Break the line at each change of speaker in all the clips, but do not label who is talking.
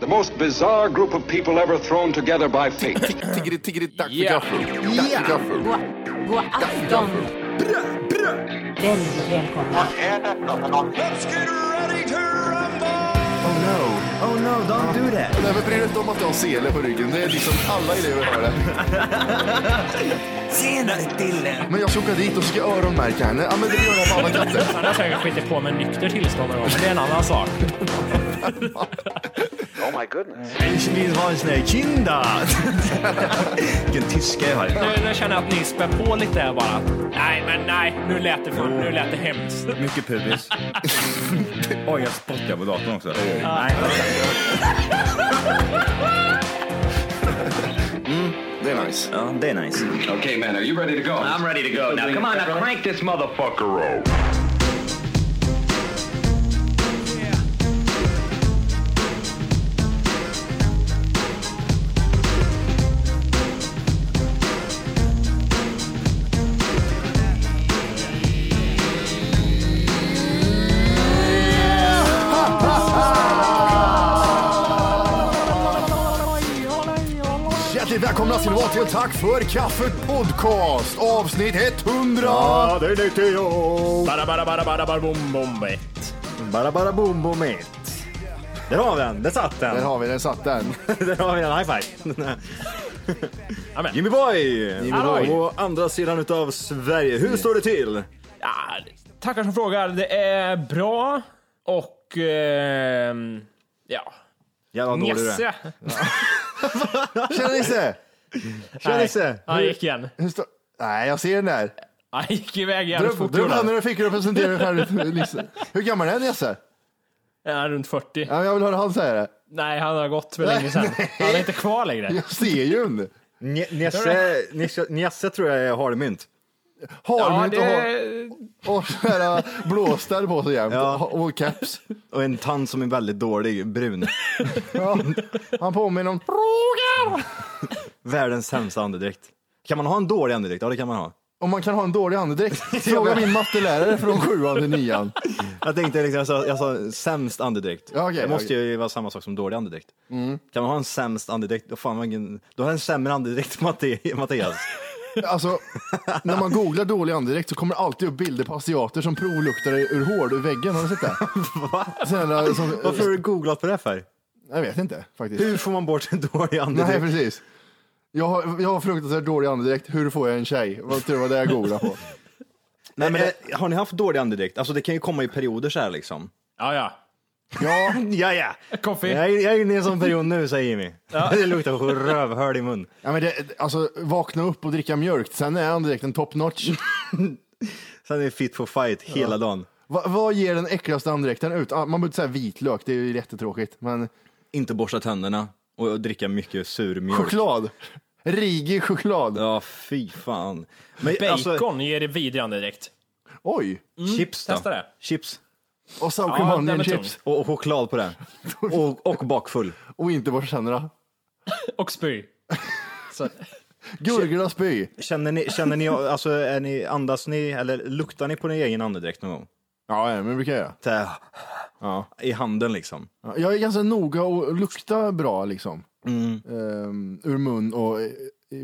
The most bizarre group of people ever thrown together by fate.
Tiggeri, tiggeri, dack för
Yeah.
gaffel. Dack för gaffel.
God, god afton. Väldigt välkomna.
Oh no, oh no, don't do that.
Nej, men bry dig inte om att jag har sele på ryggen. Det är liksom alla elever har det.
Tjenare Dille!
Men jag ska åka dit och ska öronmärka henne. Ja, men det gör jag på alla katter.
Han har säkert skitit på med nykter tillstånd någon gång, men det är en annan sak.
Ich will ha en sån här kinda. Vilken tyska jag har.
Nu, nu känner jag att ni spär på lite här bara. Nej, men nej, nu lät det, för, nu lät det hemskt.
Mycket pubis. Oj, jag spottar på datorn också. Nej,
Mm,
Det är nice.
ja, det är nice.
okay, man, are you ready to go?
I'm ready to go. Now come on, now crank this motherfucker up.
Hjärtligt välkomna till vad till Tack för kaffet podcast avsnitt 100.
det är nytt till jag.
Bara, bara, bara, bara, bara, bom, bom, eh.
Bara bara boom boom it. Där har vi den, där satt
Där
den.
har vi den, satt den.
Där har vi en high five.
Amen.
Jimmy Boy!
Boy.
På andra sidan utav Sverige, hur står det till?
Ja, tackar som frågar. Det är bra och... ehm, ja.
Jävla dålig du är.
Nisse.
Tjena Nisse! Tjena
Nej,
Nisse!
Han gick igen.
Hur står- Nej, jag ser den där.
Han gick iväg jävligt
Dröm,
fort.
dröm
gjorde
henne
han.
du fick representera dig själv, Nisse. Hur gammal är Nisse?
Ja, runt 40.
Ja, jag vill höra han säga det.
Nej, han har gått för länge sedan. Han är inte kvar längre.
Jag ser ju inte.
Nj- Nisse- Nisse- Nisse tror jag är harmynt.
Har
Ja,
inte har-
det...
och sådana blåstar på sig jämt.
Ja.
Och och caps.
Och en tand som är väldigt dålig, brun.
Ja, han påminner om...
Världens sämsta andedräkt. Kan man ha en dålig andedräkt? Ja, det kan man ha.
Om man kan ha en dålig andedräkt. Fråga min mattelärare från sjuan till nian.
Jag tänkte liksom, jag sa, jag sa sämst andedräkt.
Ja, okej,
det måste
okej.
ju vara samma sak som dålig andedräkt. Kan man ha en sämst andedräkt, då, fan, man, då har jag en sämre andedräkt än Matte- Mattias.
Alltså, när man googlar dålig andedräkt så kommer det alltid upp bilder på asiater som provluktar ur hål ur väggen. Har du sett det? Sådana som,
Varför har du googlat på det för?
Jag vet inte faktiskt.
Hur får man bort en dålig
Nej,
andedräkt?
precis. Jag har, jag har fruktansvärt dålig andedräkt. Hur får jag en tjej? Vad tror du var det jag googlade på?
Nej, men det, har ni haft dålig andedräkt? Alltså det kan ju komma i perioder så här liksom.
Ja, ja.
Ja,
Ja, ja.
Koffe.
Jag, är- jag är inne i en sån period nu, säger Jimmy. Det luktar rövhörd i mun.
ja men det, alltså vakna upp och dricka mjölk. Sen är andedräkten top notch.
Sen är det fit for fight hela dagen.
Va, vad ger den äckligaste andedräkten ut? Ah, Man behöver inte säga vitlök, det är ju jättetråkigt. Men
Inte borsta tänderna och, och dricka mycket surmjölk.
choklad. Rigig choklad.
Ja, fy fan. Men,
Bacon
alltså,
ger det vidrande direkt.
Oj.
chips då?
testa det.
Chips.
Och sour
Ja,
cream
den
onion
är
chips.
Och, och choklad på det. Och, och bakfull.
Och inte borsta tänderna.
Och spy. Så,
Gurgla spy.
Känner ni, känner ni, alltså är ni, andas ni eller luktar ni på din egen andedräkt någon gång?
Ja, ja, men det brukar jag göra.
Så här, I handen liksom.
Ja, Jag är ganska noga och lukta bra liksom.
Mm.
Ehm, ur mun och eh,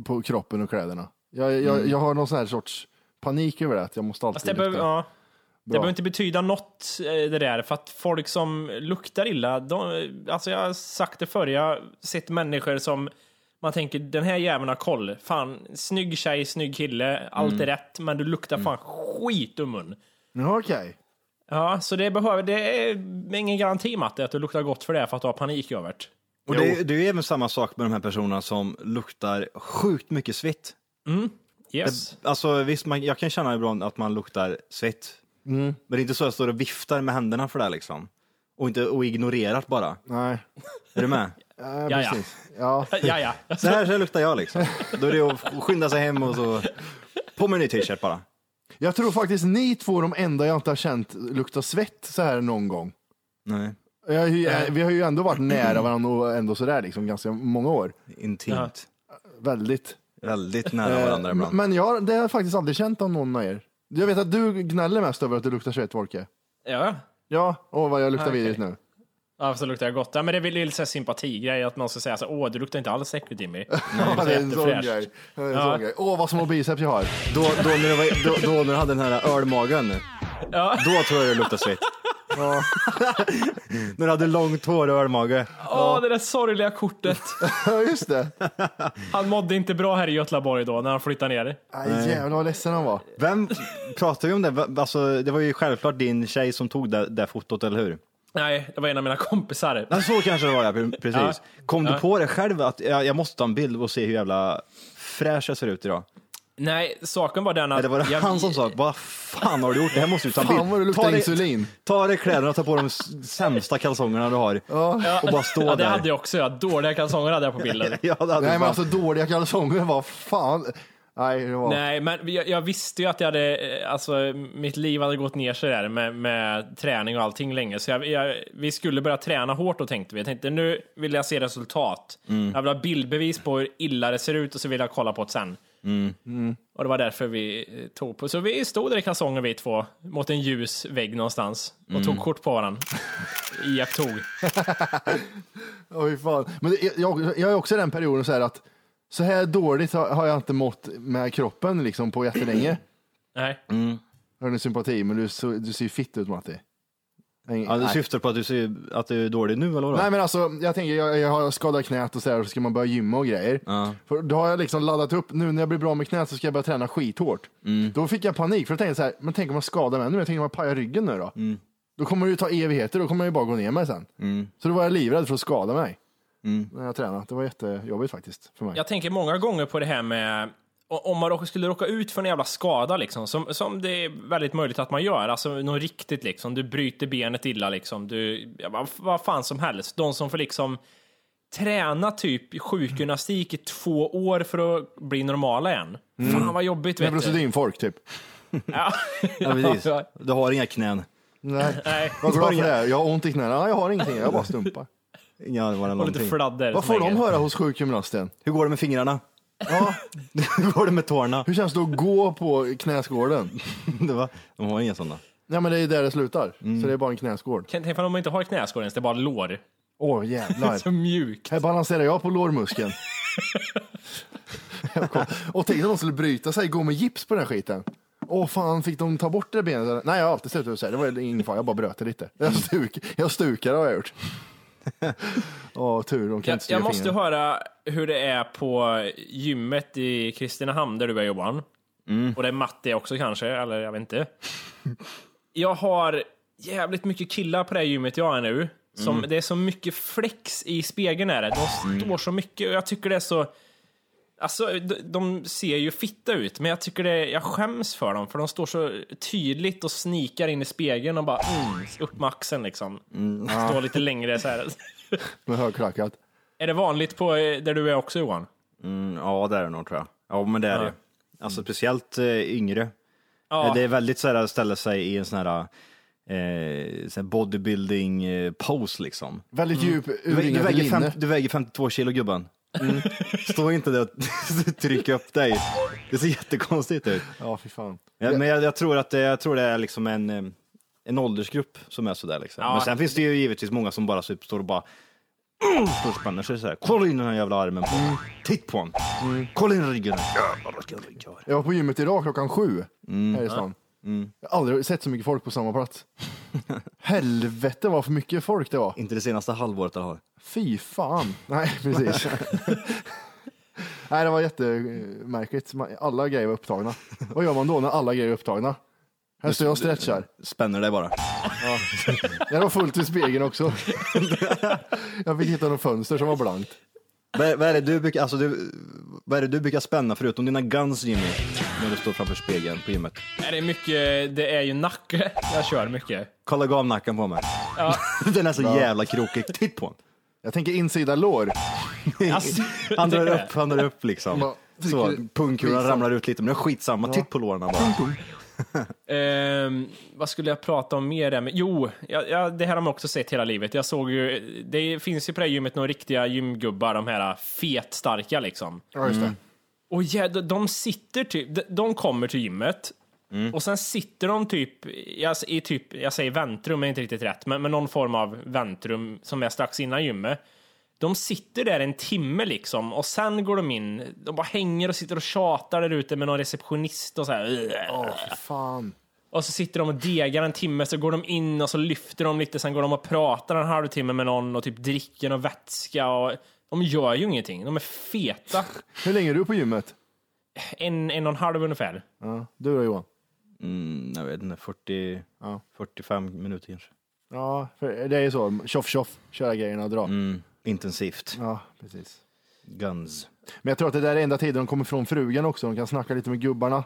på kroppen och kläderna. Jag, jag, jag har någon sån här sorts panik över det, att jag måste alltid
Mm. fast det,
lukta.
behöver, ja, det
Bra.
behöver inte betyda något eh, det där, för att folk som luktar illa, de, alltså jag har sagt det förr, jag har sett människor som man tänker den här jäveln har koll. Fan, snygg tjej, snygg kille, allt är rätt, men du luktar fan skit ur mun.
Ja, okej.
Ja, så det, behöver, det är ingen garanti Matte att du luktar gott för det för att du har panik över det.
Och det, är- det är ju även samma sak med de här personerna som luktar sjukt mycket svett.
Yes.
Alltså visst, man, jag kan känna ibland att man luktar svett.
Mm.
Men det är inte så att jag står och viftar med händerna för det här, liksom. Och inte och ignorerat bara.
Nej.
Är du med?
Ja,
Ja, ja.
precis. Ja.
Ja, ja.
Så här, så här luktar jag liksom. Då är det att skynda sig hem och så på med en ny t-shirt bara.
Jag tror faktiskt ni två är de enda jag inte har känt lukta svett så här någon gång.
Nej,
Jag, jag, vi har ju ändå varit nära varandra och ändå sådär liksom ganska många år.
intimt.
Väldigt.
Väldigt nära varandra
Eh,
ibland.
Men jag, det har jag faktiskt aldrig känt av någon av er. Jag vet att du gnäller mest över att du luktar svett, Volke.
ja.
Ja, åh vad jag luktar vidrigt nu.
Ja, så luktar jag gott. Ja, men det är väl lite så här sympatigrej att någon ska säga så här, åh, du luktar inte alls äckligt Jimmy.
Ja, det är en sån
jättefräscht.
grej. Det är en
Ja.
sån grej. Åh, vad små biceps jag har.
Då, då, när du var, då, då när du hade den här ölmagen,
Ja.
då tror jag det luktade svett. när du hade långt hår och ölmage.
Åh, det där sorgliga kortet.
Ja, just det.
Han mådde inte bra här i Göteborg då när han flyttade ner.
Aj, jävlar vad ledsen han var.
Vem pratar vi om det? Va- Alltså, det var ju självklart din tjej som tog det, det fotot, eller hur?
Nej, det var en av mina kompisar.
Ja, så kanske det var, ja, pre- precis. Kom du på det själv att jag, jag måste ta en bild och se hur jävla fräsch jag ser ut idag?
Nej, saken var den att...
Eller var det
jag-
han som sa, vad fan har du gjort? Det här måste du ta en bild.
Fan vad du
ta
luktar
dig-
insulin.
Ta dig kläderna och ta på de s- sämsta kalsongerna du har. Och bara stå
Ja, det
där.
hade jag också. Ja. Dåliga kalsonger hade jag på bilden.
Ja, det hade
Nej,
fan.
men alltså dåliga kalsonger var fan. Nej, det var...
Nej, men jag, jag visste ju att jag hade, eh, alltså mitt liv hade gått ner sig där med, med träning och allting länge. Så jag, jag, vi skulle börja träna hårt då tänkte vi. Jag tänkte nu vill jag se resultat. Jag vill ha bildbevis på hur illa det ser ut och så vill jag kolla på det sen. Och det var därför vi eh, tog på, så vi stod där i kalsonger vi två mot en ljus vägg någonstans och tog kort på varandra. Iakttog.
Oj, fan. Men det- jag, jag är också i den perioden så här att så här dåligt har har jag inte mått med kroppen liksom på jättelänge.
Nej.
Hör ni sympati, men du, så- du ser ju fitt ut Matti. Nej.
Ja, du syftar på att du, ser, att du är dålig nu, eller vadå?
Nej men alltså, jag tänker, jag, jag har skadat knät och så här, och så ska man börja gymma och grejer. För då har jag liksom laddat upp, nu när jag blir bra med knät så ska jag börja träna skithårt.
Mm.
Då fick jag panik, för jag tänkte så här, men tänk om jag skadar mig ännu mer, tänk om jag pajar ryggen nu då.
Mm.
Då kommer det ju ta evigheter, då kommer jag ju bara gå ner mig sen. Så då var jag livrädd för att skada mig.
Mm.
När jag tränade, det var jättejobbigt faktiskt för mig.
Jag tänker många gånger på det här med o- om man råkar- skulle råka ut för en jävla skada, liksom, som, som det är väldigt möjligt att man gör, alltså något riktigt, liksom, du bryter benet illa, liksom, du, ja, vad- vad fan som helst. De som får liksom träna typ sjukgymnastik i två år för att bli normala igen.
Mm.
Fan vad jobbigt,
Med
vet du.
brustodinfolk typ.
Ja.
Ja, precis. Du har inga knän.
Nej,
Nej,
vad glad för det. här. Jag har ont i knäna, Nej, jag har ingenting, jag bara stumpar.
Inga armar eller
och lite
någonting.
fladder.
Vad
som
får de
hänger.
höra hos sjukgymnasten?
Hur går det med fingrarna?
Ja,
Hur går det med tårna?
hur känns det att gå på knäskålen?
Det var, de har inga sådana.
Nej men det är där det slutar, så det är bara en knäskål.
Kan- Tänk om de inte har knäskål ens, det är bara lår.
Åh
Så
jävlar.
mjukt.
Här balanserar jag på lårmuskeln. och tänk om de skulle bryta sig, gå med gips på den här skiten. Åh fan, fick de ta bort det benet? Nej, jag har alltid sett ut så här. Det var ingen fara, jag bara bröt det lite. Jag, stuk, jag stukade har jag gjort. Åh, tur, de kan
Jag,
inte styra
jag måste
fingrarna.
höra hur det är på gymmet i Kristinehamn där du är Johan.
Mm.
Och det är Matti också kanske, eller jag vet inte. Jag har jävligt mycket killar på det här gymmet jag är nu. Som,
Mm.
Det är så mycket flex i spegeln är det. De står så mycket och jag tycker det är så... Alltså, de, de ser ju fitta ut, men jag tycker det, jag skäms för dem, för de står så tydligt och snikar in i spegeln och bara mm, upp med axeln liksom.
Mm.
Står lite längre så här.
Med högklackat.
Är det vanligt på eh, där du är också Johan?
Mm, ja, det är det nog tror jag. Ja, men det är det. Alltså speciellt eh, yngre.
Ja,
Eh, Det är väldigt så här att ställa sig i en sån här, eh, sån här bodybuilding eh, pose liksom.
Väldigt djup
Du, vä- du,
urringad
väger fem,
linne.
du väger 52 kilo gubben. Stå inte där och tryck upp dig. Det ser jättekonstigt ut.
Ja, fy fan.
Ja, men jag, jag, tror att det, jag tror det är liksom en, eh, en åldersgrupp som är sådär. Liksom.
Ja.
Men sen finns det ju givetvis många som bara typ står och bara "Mm!" står och spänner sig såhär. Kolla in den här jävla armen på mm. Titt på honom. Kolla in Mm. ryggen. Jävlar vilken rygg jag har.
Jag var på gymmet idag klockan sju här i stan. Jag har aldrig sett så mycket folk på samma plats. Helvete vad för mycket folk det var.
Inte det senaste halvåret jag har.
Fy fan. Nej, precis. Nej, det var jättemärkligt. Man- Alla grejer var upptagna. Vad gör man då när alla grejer är upptagna? Här står jag och stretchar.
Spänner dig bara.
Jag var fullt i spegeln också. Jag fick hitta något fönster som var blankt.
Vad, vad, är det du brukar, alltså du, vad är det du brukar spänna förutom dina guns Jimmy? När du står framför spegeln på gymmet.
är det, mycket, det är ju nacke jag kör mycket.
Kolla gamnacken på mig. den är så jävla krokig. Titt på honom.
Jag tänker insida lår.
Alltså,
Han drar
det är-
upp, han drar upp liksom.
Ja,
Så,
tycker-
pungkulan
skitsamma.
ramlar ut lite, men det är skitsamma. Titt på låren bara.
Ehm, vad skulle jag prata om mer? Där? med? Jo, jag, jag, det här har man också sett hela livet. Jag såg ju, det finns ju på det här gymmet några riktiga gymgubbar, de här fetstarka liksom.
Ja, just det.
Och ja, de- de sitter typ, de- de kommer till gymmet Och sen sitter de typ, jag, s- i typ, jag säger väntrum, är inte riktigt rätt, men, men någon form av väntrum som är strax innan gymmet. De sitter där en timme liksom och sen går de in. De bara hänger och sitter och tjatar där ute med någon receptionist och så här.
Åh, fan.
Och så sitter de och degar en timme, så går de in och så lyfter de lite, sen går de och pratar en halvtimme med någon och typ dricker och vätska och de gör ju ingenting. De är feta.
Hur länge är du på gymmet?
En, en och en halv ungefär.
Ja, du då Johan?
Mm, jag vet inte, 40,
Ja.
45 minuter kanske.
Ja, för det är ju så. Tjoff tjoff, köra grejerna och dra.
Mm, intensivt.
Ja, precis.
Guns.
Men jag tror att det där är enda tiden de kommer från frugan också. De kan snacka lite med gubbarna.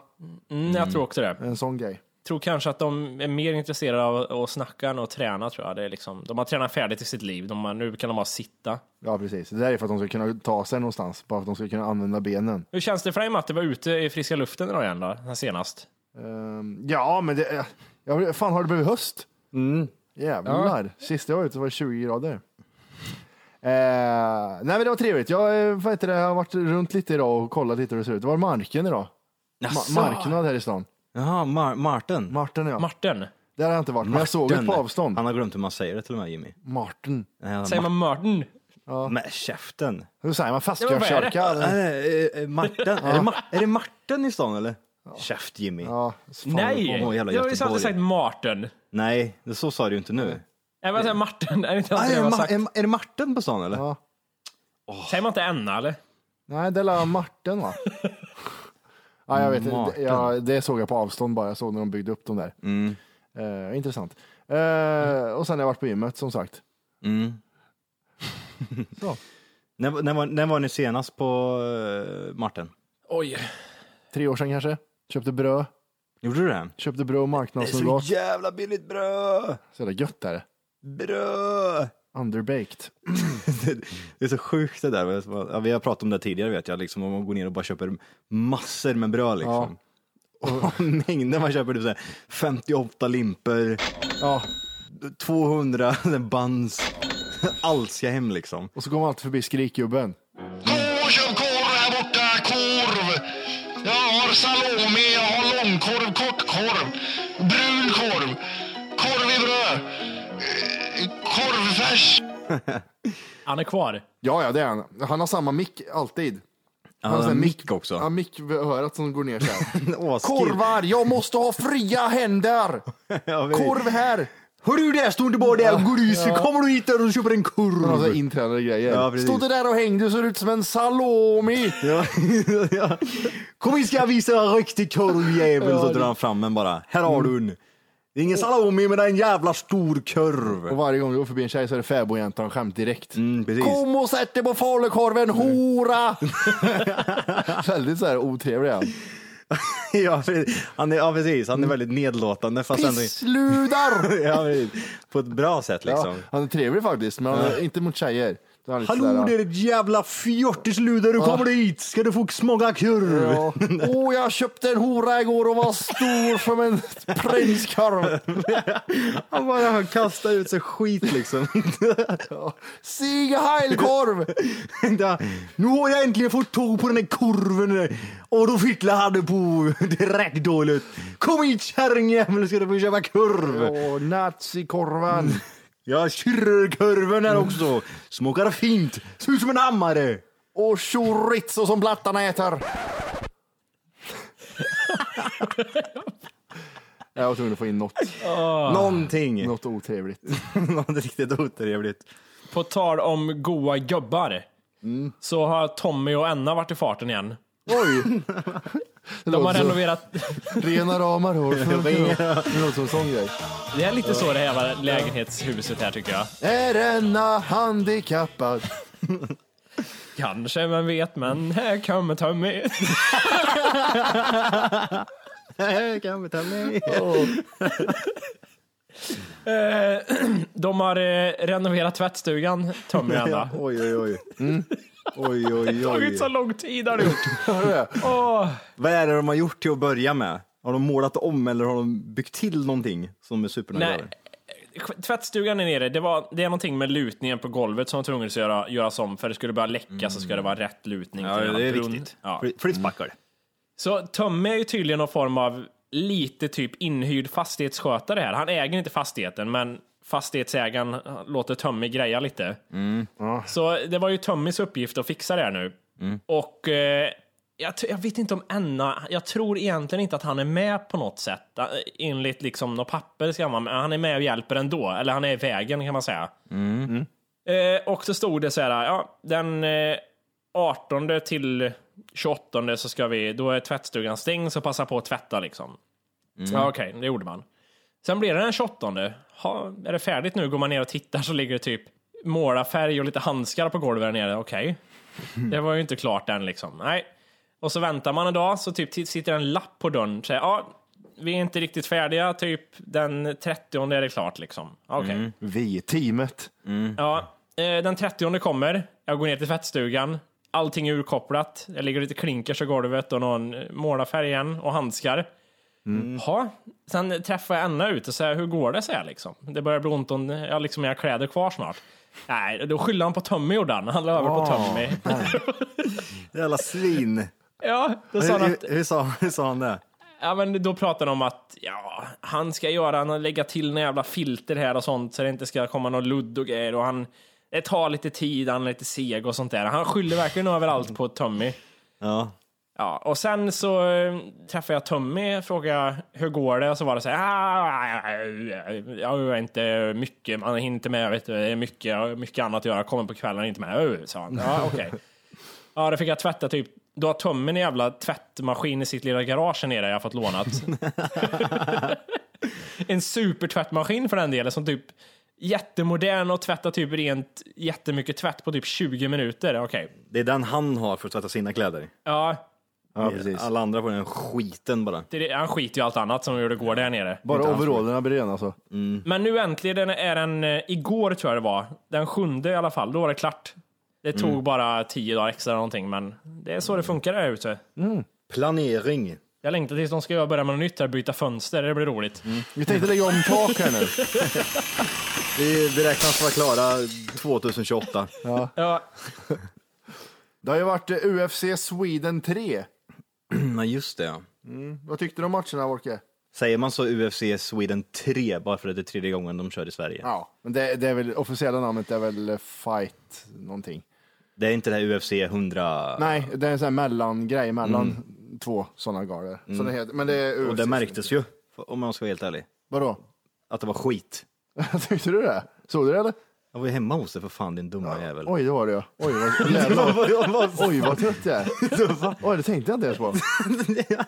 Mm, Jag tror också det.
En sån grej.
tror kanske att de är mer intresserade av att snacka än att träna tror jag. Det är liksom, de har tränat färdigt i sitt liv, de har, nu kan de bara sitta.
Ja, precis. Det där är för att de ska kunna ta sig någonstans. Bara för att de ska kunna använda benen.
Hur känns det för dig Matte, att vara ute i friska luften idag igen då, sen senast?
Ehm, ja, men det... är- Ja, fan, har det blivit höst? Jävlar. Sist jag var ute var det 20 grader. Eh, nej, men det var trevligt. Jag eh, vad heter det, har varit runt lite idag och kollat lite hur det ser ut. Det var marken idag. Ma- marknad här i stan.
Jaha, Mar- Martin.
Marten, ja.
Martin?
Där har jag inte varit, men jag såg det
Martin.
på avstånd.
Han har glömt hur man säger det till och med Jimmy.
Marten.
Nej,
Säger
Ma-
man Martin?
Med käften.
Hur säger man?
Ja, men vad är det?
Fastkörskörka? eller?
Nej, eh, eh, Martin. är, det Ma- är det Martin i stan eller? Käft Jimmy.
Ja, så fan.
Nej!
åh, jävla
jag har ju
Göteborg.
alltid sagt Martin.
Nej, det- så sa du ju inte nu.
Nej, men jag säger Martin, är det inte
Ah,
alltid
är,
jag
det
har
Ma-
sagt?
är, är det Martin på stan eller?
Ja.
Säger man inte Enna eller?
Nej, det är Marten va? ja, jag vet inte.
Marten.
Ja, det såg jag på avstånd bara. Jag såg när de byggde upp dem där.
Mm,
Mm.
Eh, intressant. Eh, Och sen har jag varit på gymmet som sagt.
Mm.
Så.
När, när, var, när var ni senast på eh, Martin?
Oj.
Tre år sedan kanske. Köpte bröd.
Gjorde du det?
Köpte bröd och
så
marknadsnougat.
jävla billigt bröd!
Så jävla gött där.
Bröd!
Underbaked.
Det är så sjukt det där. Ja, vi har pratat om det tidigare vet jag, liksom, om man går ner och bara köper massor med bröd liksom. Och mängden man köper, typ så här 58 limper,
Ja,
200 bands. Allt ska hem liksom.
och så går man alltid förbi skrikgubben.
Gå och köp korv här borta, korv! Jag har salami, jag har långkorv, kortkorv, brun korv, korv i bröd, eh, korvfärs.
Han är kvar.
Ja, ja, det är han. Han har samma mick alltid.
Han har
sån
en
här
mick också.
Ja, mick vid örat som går ner så här.
Åh, skriv-
Korvar, jag måste ha fria händer!
Ja, vi-
Korv här!
Hörru där, står inte bara där och gryser. Kommer du hit där och köper en
Och så
korv?
Alltså, intränade grejer.
Mm. Ja, precis.
Stod det där och hängde och såg ut som en salami.
Ja, ja. Kom hit ska jag visa dig en riktig korvjävel. så drar han fram en bara. Här har
Mm.
du en. Det är ingen salami men det är en jävla stor
Och
korv.
varje gång du går förbi en tjej så är det fäbodjäntan skämt direkt.
Mm, precis.
Kom och sätt dig på falukorven, hora! Väldigt så här otrevlig är han.
Ja, precis. Han är, ja precis,
Mm.
han är väldigt nedlåtande fast ändå
Pissludar!
ja, precis. på ett bra sätt
Ja,
liksom.
han är trevlig faktiskt, men han är inte mot tjejer. Då är han lite sådär,
Hallå där ditt jävla fjortisluder, du kommer hit ska du få smaka korv.
Ja. Åh, jag köpte en hora igår och var stor som en prinskorv.
Han bara kastar ut sig skit liksom.
Sieg Heilkorv!
Vänta, nu har jag äntligen fått tag på den där korven där. Och då fittlar han det på direkt dåligt. Kom hit kärringjävel ska du få köpa korv.
Åh, nazikorven.
Ja, kyrrkorven här också. Smakar fint. Ser ut som en hammare.
Och chorizo som blattarna äter. Jag var tvungen att få in något,
Ah.
Någonting.
något otrevligt.
Något riktigt otrevligt.
På tal om goa gubbar,
Mm.
så har Tommy och Enna varit i farten igen.
Oj! Det
De har
låter
Alltså.
som-
renoverat
Alltså, Rena ramar hår. Det låter som en sån grej.
Det är lite så det här var lägenhetshuset här tycker jag.
Är denna handikappad?
Kanske man vet, men här kommer Tommy.
kan vi ta med?
De har eh, renoverat tvättstugan, Tommy och Anna.
Oj, oj, oj. Mm. Oj,
Det
oj,
har tagit så
oj.
lång tid har det gjort.
Vad är det de har gjort till att börja med? Har de målat om eller har de byggt till någonting som är supernöjda
Nej,
över?
tvättstugan är nere. Det, var, det är någonting med lutningen på golvet som de tvungen att göra, göras om. För det skulle börja läcka så ska det vara rätt lutning.
Ja,
till Typ
Mm.
en
det är
brunn.
viktigt.
Ja.
Fl- Flyttspackel.
Så Tommy är ju tydligen någon form av lite typ inhyrd fastighetsskötare här. Han äger inte fastigheten, men fastighetsägaren låter Tommy greja lite. Så det var ju Tommys uppgift att fixa det här nu. Och eh, jag, t- jag vet inte om Enna, jag tror egentligen inte att han är med på något sätt. Eh, Enligt liksom något papper ska man, men han är med och hjälper ändå. Eller han är i vägen kan man säga. Eh, och så stod det så här, ja, den eh, 18 till 28 så ska vi, då är tvättstugan stängd så passa på att tvätta liksom. Ja, Okej, det gjorde man. Sen blir det den 28. Ha, är det färdigt nu? Går man ner och tittar så ligger det typ målarfärg och lite handskar på golvet där nere. Okej, det var ju inte klart än liksom. Nej. Och så väntar man en dag så typ t- sitter en lapp på dörren. Säger, ja, vi är inte riktigt färdiga, typ den 30 är det klart liksom. Okej.
Vi, teamet.
Ja, eh, den 30 kommer. Jag går ner till tvättstugan. Allting är urkopplat. Jag ligger lite klinkers i golvet och någon eh, målarfärg igen och handskar. Ja, sen träffar jag Anna ute och säger hur går det? säger jag liksom. Det börjar bli ont om jag har liksom inga kläder kvar snart. Nej, då skyller han på Tommy gjorde han. Han la över på Tommy.
Jävla svin.
ja, då sa han
Hur,
att,
hur, hur, sa, hur sa han det?
ja, men då pratade han om att ja, han ska göra, han har lägga till några jävla filter här och sånt så det inte ska komma någon ludd och grejer och han, det tar lite tid, han är lite seg och sånt där. Han skyller verkligen överallt på Tommy.
Ja.
Ja, och sen så eh, träffade jag Tommy, frågade hur går det och så var det så här. Jag är inte mycket, man hinner inte med, vet du, det är mycket, jag har mycket annat att göra, kommer på kvällen, inte med, "Ö", sa han. Ja, okej. Ja, då fick jag tvätta typ, då har Tommy en jävla tvättmaskin i sitt lilla garage här nere jag har fått lånat. en supertvättmaskin för den delen som typ jättemodern och tvättar typ rent jättemycket tvätt på typ 20 minuter. Okej.
Det är den han har för att tvätta sina kläder.
Ja,
Ja, precis.
Alla andra på den skiten bara.
det, han skiter ju i allt annat som gjorde går där nere.
Bara overallerna blir rena alltså.
Men nu äntligen är den, eh, igår tror jag det var, den sjunde i alla fall, då var det klart. Det tog bara tio dagar extra eller någonting, men det är så det funkar där ute.
Planering.
Jag längtar tills de ska börja med något nytt här, byta fönster, det blir roligt.
Vi tänkte lägga om tak här nu.
Vi beräknas vara klara 2028.
Ja,
Det har ju varit eh, UFC Sweden 3.
Ja, just det. ja.
Vad tyckte du om matcherna, Wolke?
Säger man så UFC Sweden 3 bara för att det är tredje gången de kör i Sverige?
Ja, men det, det är väl officiella namnet är väl eh, fight någonting.
Det är inte det här UFC 100...
Nej, det är en sån här mellangrej mellan två sådana galor. Så det heter, men Mm. det är UFC.
Och det märktes ju, om man ska vara helt ärlig,
Vadå?
att det var skit.
Tyckte du det? Såg du det eller?
Jag var ju hemma hos dig för fan din dumma jävel.
Oj, det var det ja. Oj, vad, jävlar, oj, vad trött jag är. Oj, det tänkte jag inte ens på.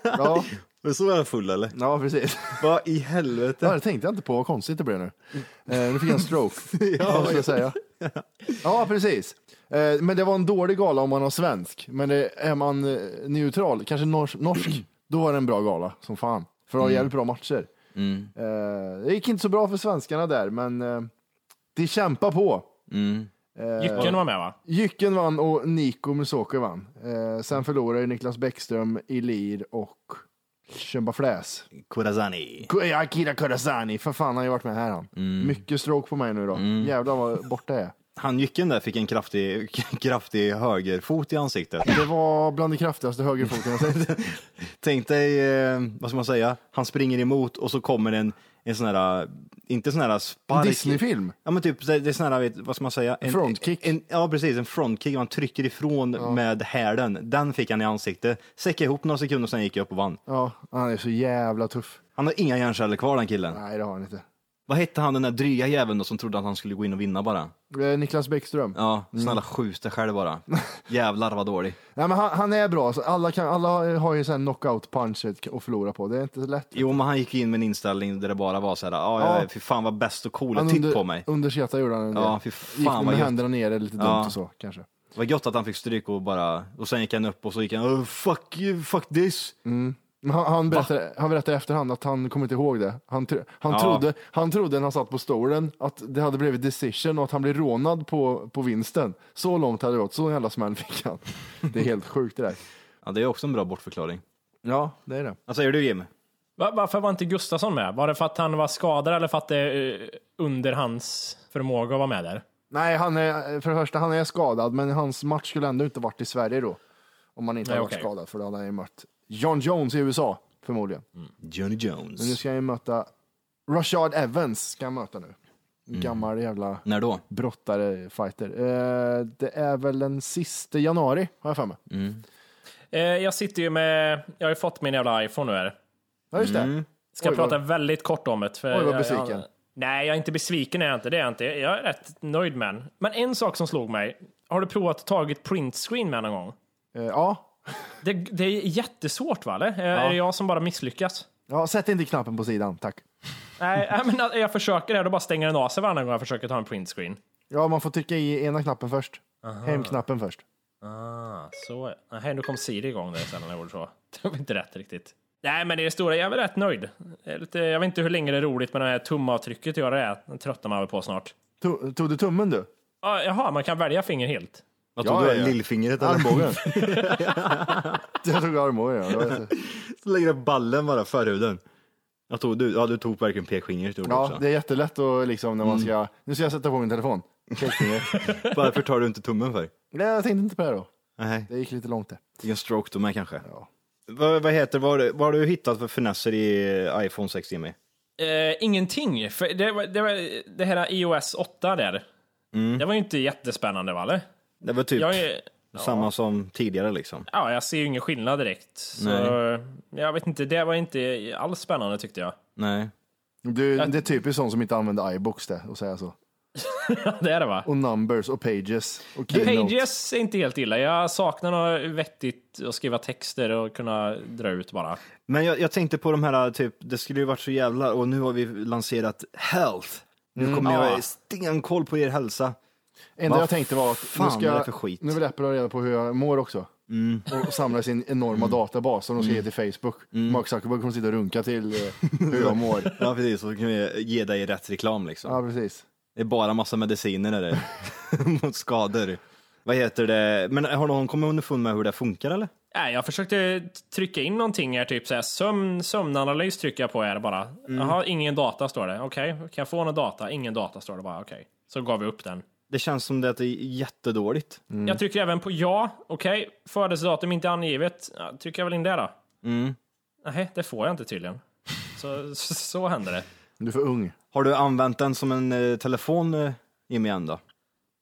Ja,
Men så är jag full eller?
ja precis.
Vad i
Ja,
helvete?
det tänkte jag inte på. Vad konstigt det blev nu. Eh, nu fick jag en stroke. ja, vad ska jag säga. ja, precis. Eh, men det var en dålig gala om man var svensk. Men det, är man eh, neutral, kanske norsk, norsk då var det en bra gala som fan. För det var jävligt bra matcher.
Mm,
Eh, det gick inte så bra för svenskarna där, men eh, de kämpar på.
mm.
Jycken var med va?
Jycken vann och Niko Musoko vann. Eh, sen förlorade ju Niklas Bäckström, Ilir och Tjömbafläs.
Kurazani.
Ja, Akira Kurasani, för fan han har ju varit med här han. Mycket stråk på mig nu då. Jävlar vad borta jag är.
Han jycken där fick en kraftig, kraftig högerfot i ansiktet.
Det var bland det kraftigaste högerfoten jag sett.
Tänk dig, eh, vad ska man säga, han springer emot och så kommer en, en sån här, eh, inte sån här spark.
Disney-film.
Ja men typ, det det är sån här, vet, vad ska man säga? En,
Frontkick.
En, ja precis, en frontkick. Man trycker ifrån med hälen. Den fick han i ansiktet. Säckade ihop några sekunder och sen gick jag upp och vann.
Ja, han är så jävla tuff.
Han har inga hjärnceller kvar den killen.
Nej, det har han inte.
Vad hette han den där dryga jäveln då som trodde att han skulle gå in och vinna bara?
Eh, Niklas Bäckström.
Ja, snälla
Mm.
skjut dig själv bara. Jävlar vad dålig.
Nej, men han, han är bra. Så alla, kan, alla har ju sån knockout-punch att förlora på. Det är inte så lätt.
Jo men han gick in med en inställning där det bara var så här, ja,
Ja.
jag är- fy fan vad bäst och cool,
Han
titt på mig.
Under Zeta gjorde han en
Ja,
del.
fy fan,
Gick
vad
med
gött.
händerna nere lite dumt
Ja.
och så kanske.
Vad gött att han fick stryk och bara, och sen gick han upp och så gick han, oh, fuck you, fuck this.
Mm. Men Han, han, berättade, han berättade i efterhand att han kommer inte ihåg det. Han, tro, han,
Ja.
trodde, han trodde när han satt på stolen att det hade blivit decision och att han blev rånad på, på vinsten. Så långt hade det gått, så jävla smäll fick han. Det är helt sjukt det där.
Ja, det är också en bra bortförklaring.
Ja, det är det.
Vad säger du Jim?
Va- Varför var inte Gustafsson med? Var det för att han var skadad eller för att det är under hans förmåga att vara med där?
Nej, han är, för det första, han är skadad, men hans match skulle ändå inte varit i Sverige då. Om han inte
Nej,
hade varit
okej.
skadad, för då hade han ju mött John Jones i USA. förmodligen.
Johnny
Men nu
Jones.
ska han ju möta Rashard Evans. Ska han möta nu.
Mm.
Gammal jävla
När då?
brottare, fighter. Eh, det är väl den sista januari, har jag för mig.
Eh, jag sitter ju med... Jag har ju fått min jävla iPhone nu här.
Ja, just det.
Mm. Ska
Oj, vad-
prata väldigt kort om det. För
Oj, vad
jag-
besviken.
Jag, nej, jag är inte besviken. Är jag, inte, det är jag, inte. jag är rätt nöjd med den. Men en sak som slog mig. Har du provat att tagit printscreen med någon gång?
Eh, ja.
Det, det är jättesvårt, va? Eller? Eh, Är det jag som bara misslyckas?
ja, sätt inte knappen på sidan, tack.
Nej, nej, men jag- jag försöker det. Då bara stänger den av sig varje gång jag försöker ta en printscreen.
Ja, man får trycka i ena knappen först. Hemknappen först.
Ah, så. Nej, nu kom Siri igång där sen när jag gjorde så. Det var inte rätt riktigt. Nej, men det är det stora. Jag är väl rätt nöjd. Jag, är lite, jag vet inte hur länge det är roligt med det här tumavtrycket att göra det. här. Det tröttnar man väl på snart.
To- Tog du tummen du?
Ah, jaha, man kan välja finger helt.
Vad
Ja,
tog du?
ja, ja.
Lillfingret eller?
Armbågen. jag tog armbågen, ja. Det var-
Så lägger jag ballen bara för huden. Jag tog, du, ja, du tog verkligen pekfingret. gjorde du
Ja,
också.
det är jättelätt att liksom när man
Mm.
ska... Nu ska jag sätta på min telefon. Pekfinger.
Varför tar du inte tummen för?
Nej, jag tänkte inte på det då.
Nej,
Det gick lite långt där.
vilken stroke de är kanske.
Ja.
Vad, vad heter, vad har, du, vad har du hittat för finesser i iPhone 6 Jimmy?
Eh, ingenting. För det, var, det, var, det här E iOS 8 där. Det var ju inte jättespännande, va? eller?
Det var typ
Jag, är-
samma som tidigare liksom.
ja, jag ser ju ingen skillnad direkt. Så jag vet inte, det var inte alls spännande tyckte jag.
Nej.
Du, Det är typiskt sån som inte använder iBooks det, och säga så.
det är det va?
Och numbers och pages och keynote.
Pages är inte helt illa. Jag saknar något vettigt att skriva texter och kunna dra ut bara.
Men jag, jag tänkte på de här, typ, det skulle ju varit så jävla, och nu har vi lanserat health. Nu kommer jag
Ja.
ha stenkoll på er hälsa.
Enda
Vad
jag tänkte var att
fan
nu, ska,
är det för skit? Mm.
nu vill Apple ha reda på hur jag mår också. Och samla sin enorma databas som de ska ge till Facebook.
Mm.
Mark Zuckerberg kommer sitta och runka till eh, hur jag mår.
Ja precis, så kan vi ge dig rätt reklam liksom.
Ja, precis.
Det är bara massa mediciner är det. mot skador. Vad heter det, men har någon kommit underfund med hur det funkar eller?
Nej, jag försökte trycka in någonting här, typ så här, sömn, sömnanalys trycker jag på här bara. Jaha, ingen data står det. Okej, kan jag få någon data? Ingen data står det bara. Okej, så gav vi upp den.
Det känns som det att det är jättedåligt.
Jag trycker även på ja. Okej, födelsedatum inte angivet. Ja, trycker jag väl in det då? Nej, det får jag inte tydligen. Så, så, så händer det.
Du är för ung.
Har du använt den som en eh, telefon eh, Jimmy än då?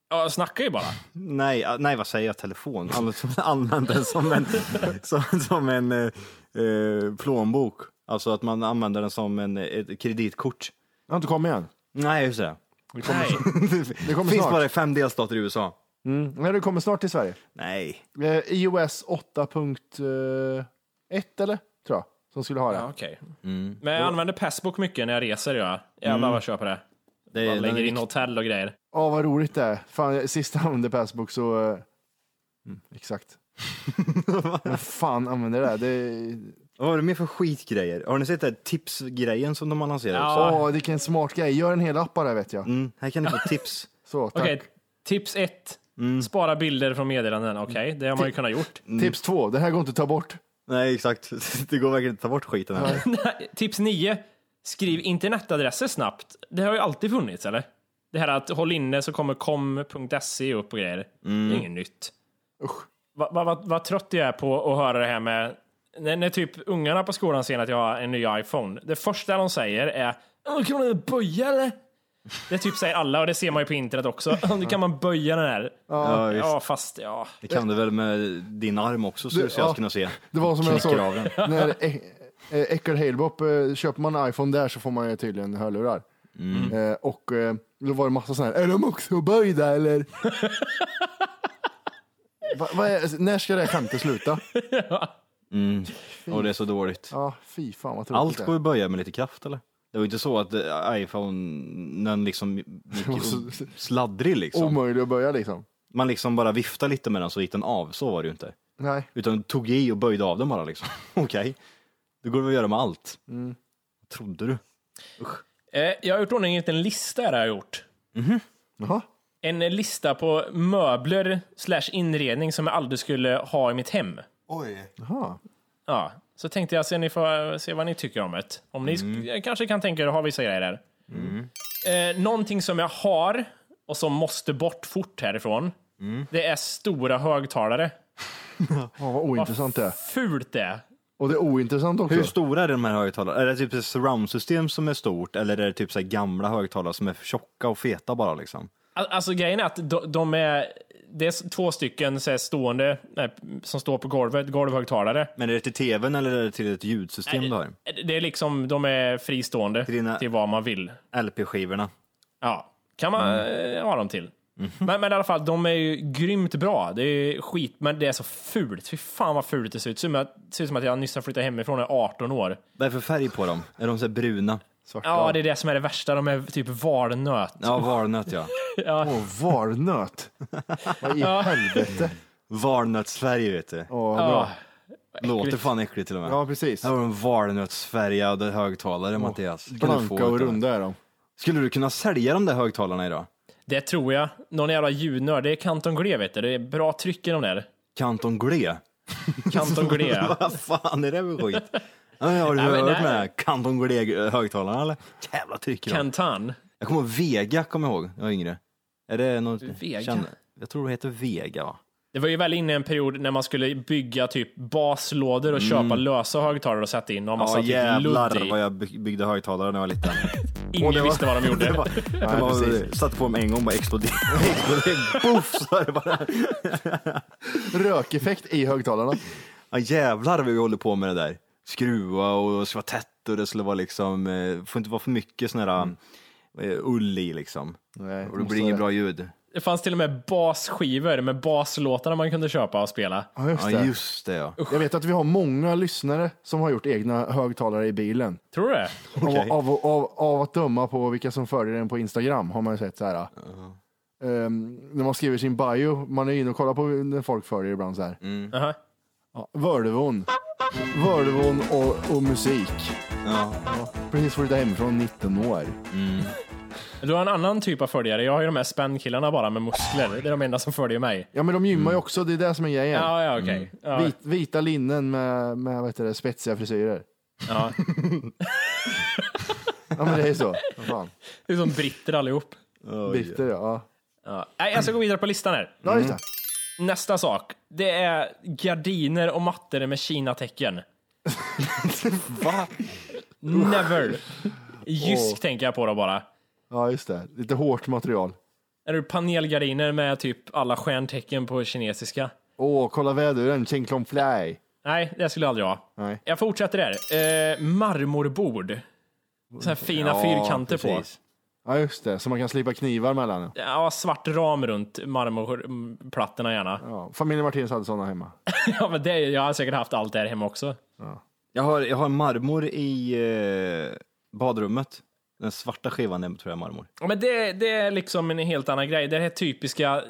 Ja, Jag snackar ju bara.
Nej, ah, nej vad säger jag, telefon? Använt- Använt den som en, som, som en eh, eh, plånbok. Alltså att man använder den som en, eh, ett kreditkort.
Jag har inte kommit än.
Nej, just det.
Nej.
Det kommer
Finns
snart.
bara i fem delstater i USA.
Mm. Nej, det kommer snart till Sverige.
Nej.
Eh, iOS 8.1 eller? Tror jag. Som skulle ha det.
Ja, okej. Men jag använder Passbook mycket när jag reser. Ja. Jävlar vad jag köper det.
Det
Man lägger
den-
in hotell och grejer.
Ja, vad roligt det är. Fan, jag- sist jag använde Passbook så... eh, Mm, exakt. Men fan använder det där? Det,
Vad var det mer för skitgrejer? Har ni sett det här tipsgrejen som de har lanserat?
Ja.
Åh, vilken smart grej. Gör en hel app bara vet jag.
Mm, här kan ni få tips.
Så, tack.
Okej, tips ett. Spara bilder från meddelanden. Okej, det har man ju kunnat gjort.
Mm.
Tips två, det här går inte att ta bort.
Nej, exakt. Det går verkligen inte att ta bort skiten här.
tips nio. Skriv internetadresser snabbt. Det har ju alltid funnits, eller? Det här att håll inne så kommer com.se upp och grejer.
Mm.
Det är inget nytt.
Usch.
Vad va, va, vad trött jag är på att höra det här med... När, när typ ungarna på skolan ser att jag har en ny iPhone. Det första de säger är "Åh, Kan man böja eller? Det typ säger alla och det ser man ju på internet också. Nu kan man böja den här.
Ja, visst.
Ja, fast ja.
Det kan du väl med din arm också, så
Du-
du ska
ja.
kunna se.
Det var som jag såg
Knäcker av den.
när Ä- eh, Eckerd Halebop, eh, köper man en iPhone där så får man ju tydligen hörlurar.
Mm.
Eh, Och eh, då var det massa sådana här, är de också böjda eller? va, vad är, när ska det här skämtet sluta?
Och det är så dåligt.
Ja, fy fan vad tråkigt
Allt
det är.
går ju att böja med lite kraft eller? Det var ju inte så att eh, iPhonen liksom gick
så-
sladdrig liksom.
Omöjligt att böja liksom.
Man liksom bara viftade lite med den så gick den av, så var det ju inte.
Nej,
Utan du tog i och böjde av den bara liksom. Okej, det går väl att göra med allt. Vad trodde du?
Eh, Jag har gjort ordning en liten lista här har jag gjort.
jaha.
En lista på möbler slash inredning som jag aldrig skulle ha i mitt hem.
Jaha.
Ja, så tänkte jag se, ni får, se vad ni tycker om det. Om ni sk- jag kanske kan tänka er att ha vissa grejer här. Eh, någonting som jag har och som måste bort fort härifrån. Det är stora högtalare.
Ja, vad ointressant det är.
Fult det är.
Och det är ointressant också.
Hur stora är de här högtalarna? Är det typ ett surroundsystem som är stort eller är det typ så här gamla högtalare som är tjocka och feta bara liksom?
Al- Alltså grejen är att de, de är, det är s- två stycken så här, stående, nej, som står på golvet, golvhögtalare. Eh,
Men är det till tvn eller är det till ett ljudsystem du har?
Det är liksom, de är fristående till,
dina-
vad man vill.
LP-skivorna.
Ja, kan man
Mm.
eh, ha dem till.
Mhm.
Men, men i alla fall, de är ju grymt bra. Det är ju skit, men det är så fult. Fy fan vad fult det ser ut. Ser ut som att, ser ut som att jag nyss har flyttat hemifrån och är 18 år.
Vad är det för färg på dem? Är de så här bruna?
Ja, det är det som är det värsta. De är typ valnöt.
Ja, valnöt ja.
Åh, varnöt. Vad i helvete.
Valnötsfärg vet du.
Åh, vad bra.
Låter fan äckligt till och med.
Ja, precis.
Här har du en valnötsfärgad högtalare Mattias. Kan du få
Blanka och
ett där?
runda är de.
Skulle du kunna sälja de där högtalarna idag?
Det tror jag. Någon jävla ljudnörd. Det är Kanton Gle, vet du. Det är bra tryck i de där.
Kanton Gle?
Kanton Gle, ja.
Vad fan är det för skit? Ja, men Har du
Nej, men
hört
det-
med den här Kanton Gle högtalarna eller? Jävla tryck i dem.
Kantan.
Jag kommer ihåg Vega, kommer jag ihåg, när jag var yngre. Är det något...
Vega?
jag tror det heter Vega va?
Det var ju väl inne i en period när man skulle bygga typ baslådor och köpa lösa högtalare och sätta in och massa
Mm. Ja
typ ludd
jävlar
i.
vad jag by- byggde högtalare när jag var liten.
Ingen visste vad de gjorde.
Det var, det var,
precis.
satte på dem en gång bara exploderade. exploderade. Boff så är det bara.
Rökeffekt i högtalarna.
Ja jävlar vad vi håller på med det där. Skruva och det ska vara tätt och det skulle vara liksom, eh, får inte vara för mycket sån här eh, ull i liksom.
Nej,
och det
måste
blir inget
det.
bra ljud.
Det fanns till och med basskivor med baslåtarna man kunde köpa och spela.
Ja, just
Ja
det.
just det ja.
Jag vet att vi har många lyssnare som har gjort egna högtalare i bilen.
Tror du det?
Okej.
Av, av, av, av att döma på vilka som följer den på Instagram har man ju sett så här. ehm, när man skriver sin bio, man är inne och kollar på när folk följer ibland så här.
Aha.
Ja, Völvon. Völvon och, och musik.
ja.
Precis flyttat hemifrån 19 år.
Du har en annan typ av följare. Jag har ju de här spännkillarna bara med muskler. Det är de enda som följer mig. Mm.
Ja men de gymmar ju också, det är det som är grejen.
Ja, ja, okej. Ja,
Vit, vita linnen med, med vad heter det, spetsiga frisyrer.
ja.
Ja men det är så. Vad Fan.
Det är som britter allihop.
Bitter ja.
Ja. Nej, jag ska gå vidare på listan här. Mm.
Ja just det.
Nästa sak. Det är gardiner och mattor med Kina-tecken.
Va?
Never! Jysk tänker jag på då bara.
Ja just det. Lite hårt material.
Är det panelgardiner med typ alla stjärntecken på kinesiska?
Åh, kolla väduren, Ching Klong Fly.
Nej, det skulle jag aldrig ha.
Nej.
Jag fortsätter där. Eh, marmorbord. Så här fina fyrkanter på.
Ja just det, så man kan slipa knivar mellan.
Ja, svart ram runt marmorplattorna gärna.
Ja, familjen Martins hade sådana hemma.
Ja, men det, jag har säkert haft allt där hemma också.
Jag har, jag har marmor i eh, badrummet. Den svarta skivan är tror jag marmor.
Ja, Men det, det är liksom en helt annan grej. Det här typiska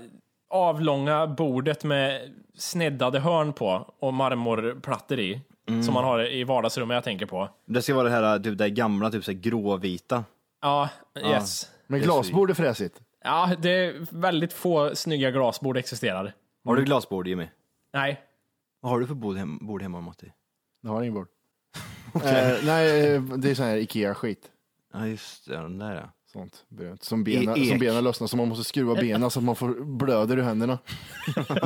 avlånga bordet med sneddade hörn på och marmorplattor i. Som man har i vardagsrummet jag tänker på.
Det ska vara det här typ, det här gamla, typ så här gråvita.
Ja, yes.
Men glasbord är fräsigt.
Ja, det är väldigt få snygga glasbord existerar.
Har du glasbord Jimmy?
Nej,
Vad har du för bord, hem, bord hemma Matti?
Jag har ingen bord. eh, nej, eh, det är sån här Ikea-skit.
Ja just det, den där ja.
Sånt brunt. Som
I
benen,
E- ek.
som benen lossnar, så man måste skruva benen så att man får blöder ur händerna.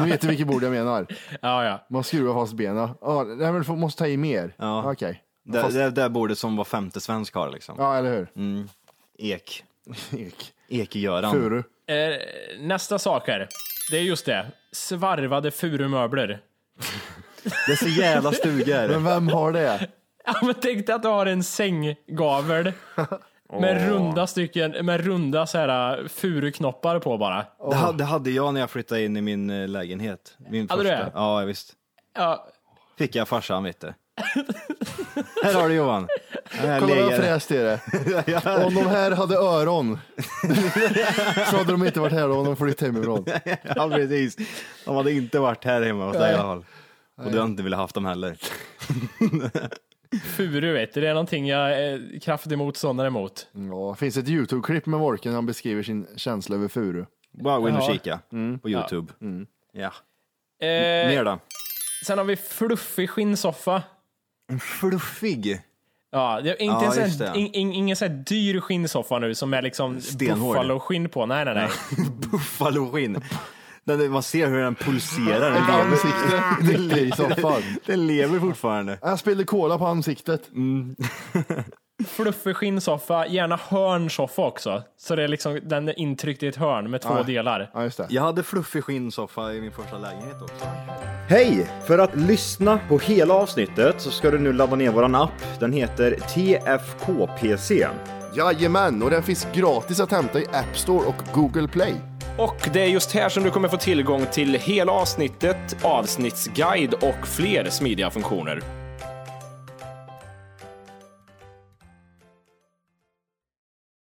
Ni vet ju vilket bord jag menar.
ja, ja.
Man skruvar fast benen. Ja, nej, men du får- måste ta i mer.
Ja.
Okej.
Det, det, det där bordet som var femte svensk har liksom.
Ja, eller hur?
Ek.
Ek.
Eke-Göran.
Furu.
Eh, nästa sak här. Det är just det. Svarvade furumöbler.
Det är så jävla stuga är
Men
det.
vem har det?
Ja, men tänk dig att du har en sänggavel med runda stycken, med runda så här eh, furuknoppar på bara.
Det ha- Det hade jag när jag flyttade in i min eh, lägenhet. Min
Hade du
första.
det?
Ja visst.
Ja,
Fick jag av farsan vet du. Här har du Johan.
Kolla
Här
vad
ligger det.
fräscht det är. Om de här hade öron så hade de inte varit här om de flytt hemifrån.
Ja precis. De hade inte varit här hemma hos dig i alla fall. Och du har inte velat haft dem heller.
furu vet du. Det är någonting jag är kraftig motståndare mot.
Mm, Ja, det finns ett YouTube-klipp med Wolken när han beskriver sin känsla över furu.
Bara gå in och
Ja.
kika
Mm.
på Youtube. Ja.
Eh,
Mer då?
sen har vi fluffig skinnsoffa.
Fluffig.
Ja, det är
Ja,
inte en
just
sån
det.
här, in, in, ingen sån här dyr skinnsoffa nu som är liksom
Stenhård.
buffaloskinn på. Nej, nej, nej.
Buffaloskinn. Den, den- man ser hur den pulserar.
Ett
Den,
ansikte. Det ligger i soffan.
den Alltså, lever fortfarande.
Jag spillde cola på ansiktet.
Mm.
Fluffig skinnsoffa, gärna hörnsoffa också. Så det är liksom, den är intryckt i ett hörn med två delar.
Ja, just det.
Jag hade fluffig skinnsoffa i min första lägenhet också.
Hej! För att lyssna på hela avsnittet så ska du nu ladda ner våran app. Den heter TFKPC.
Jajamän, och den finns gratis att hämta i App Store och Google Play.
Och det är just här som du kommer få tillgång till hela avsnittet, avsnittsguide och fler smidiga funktioner.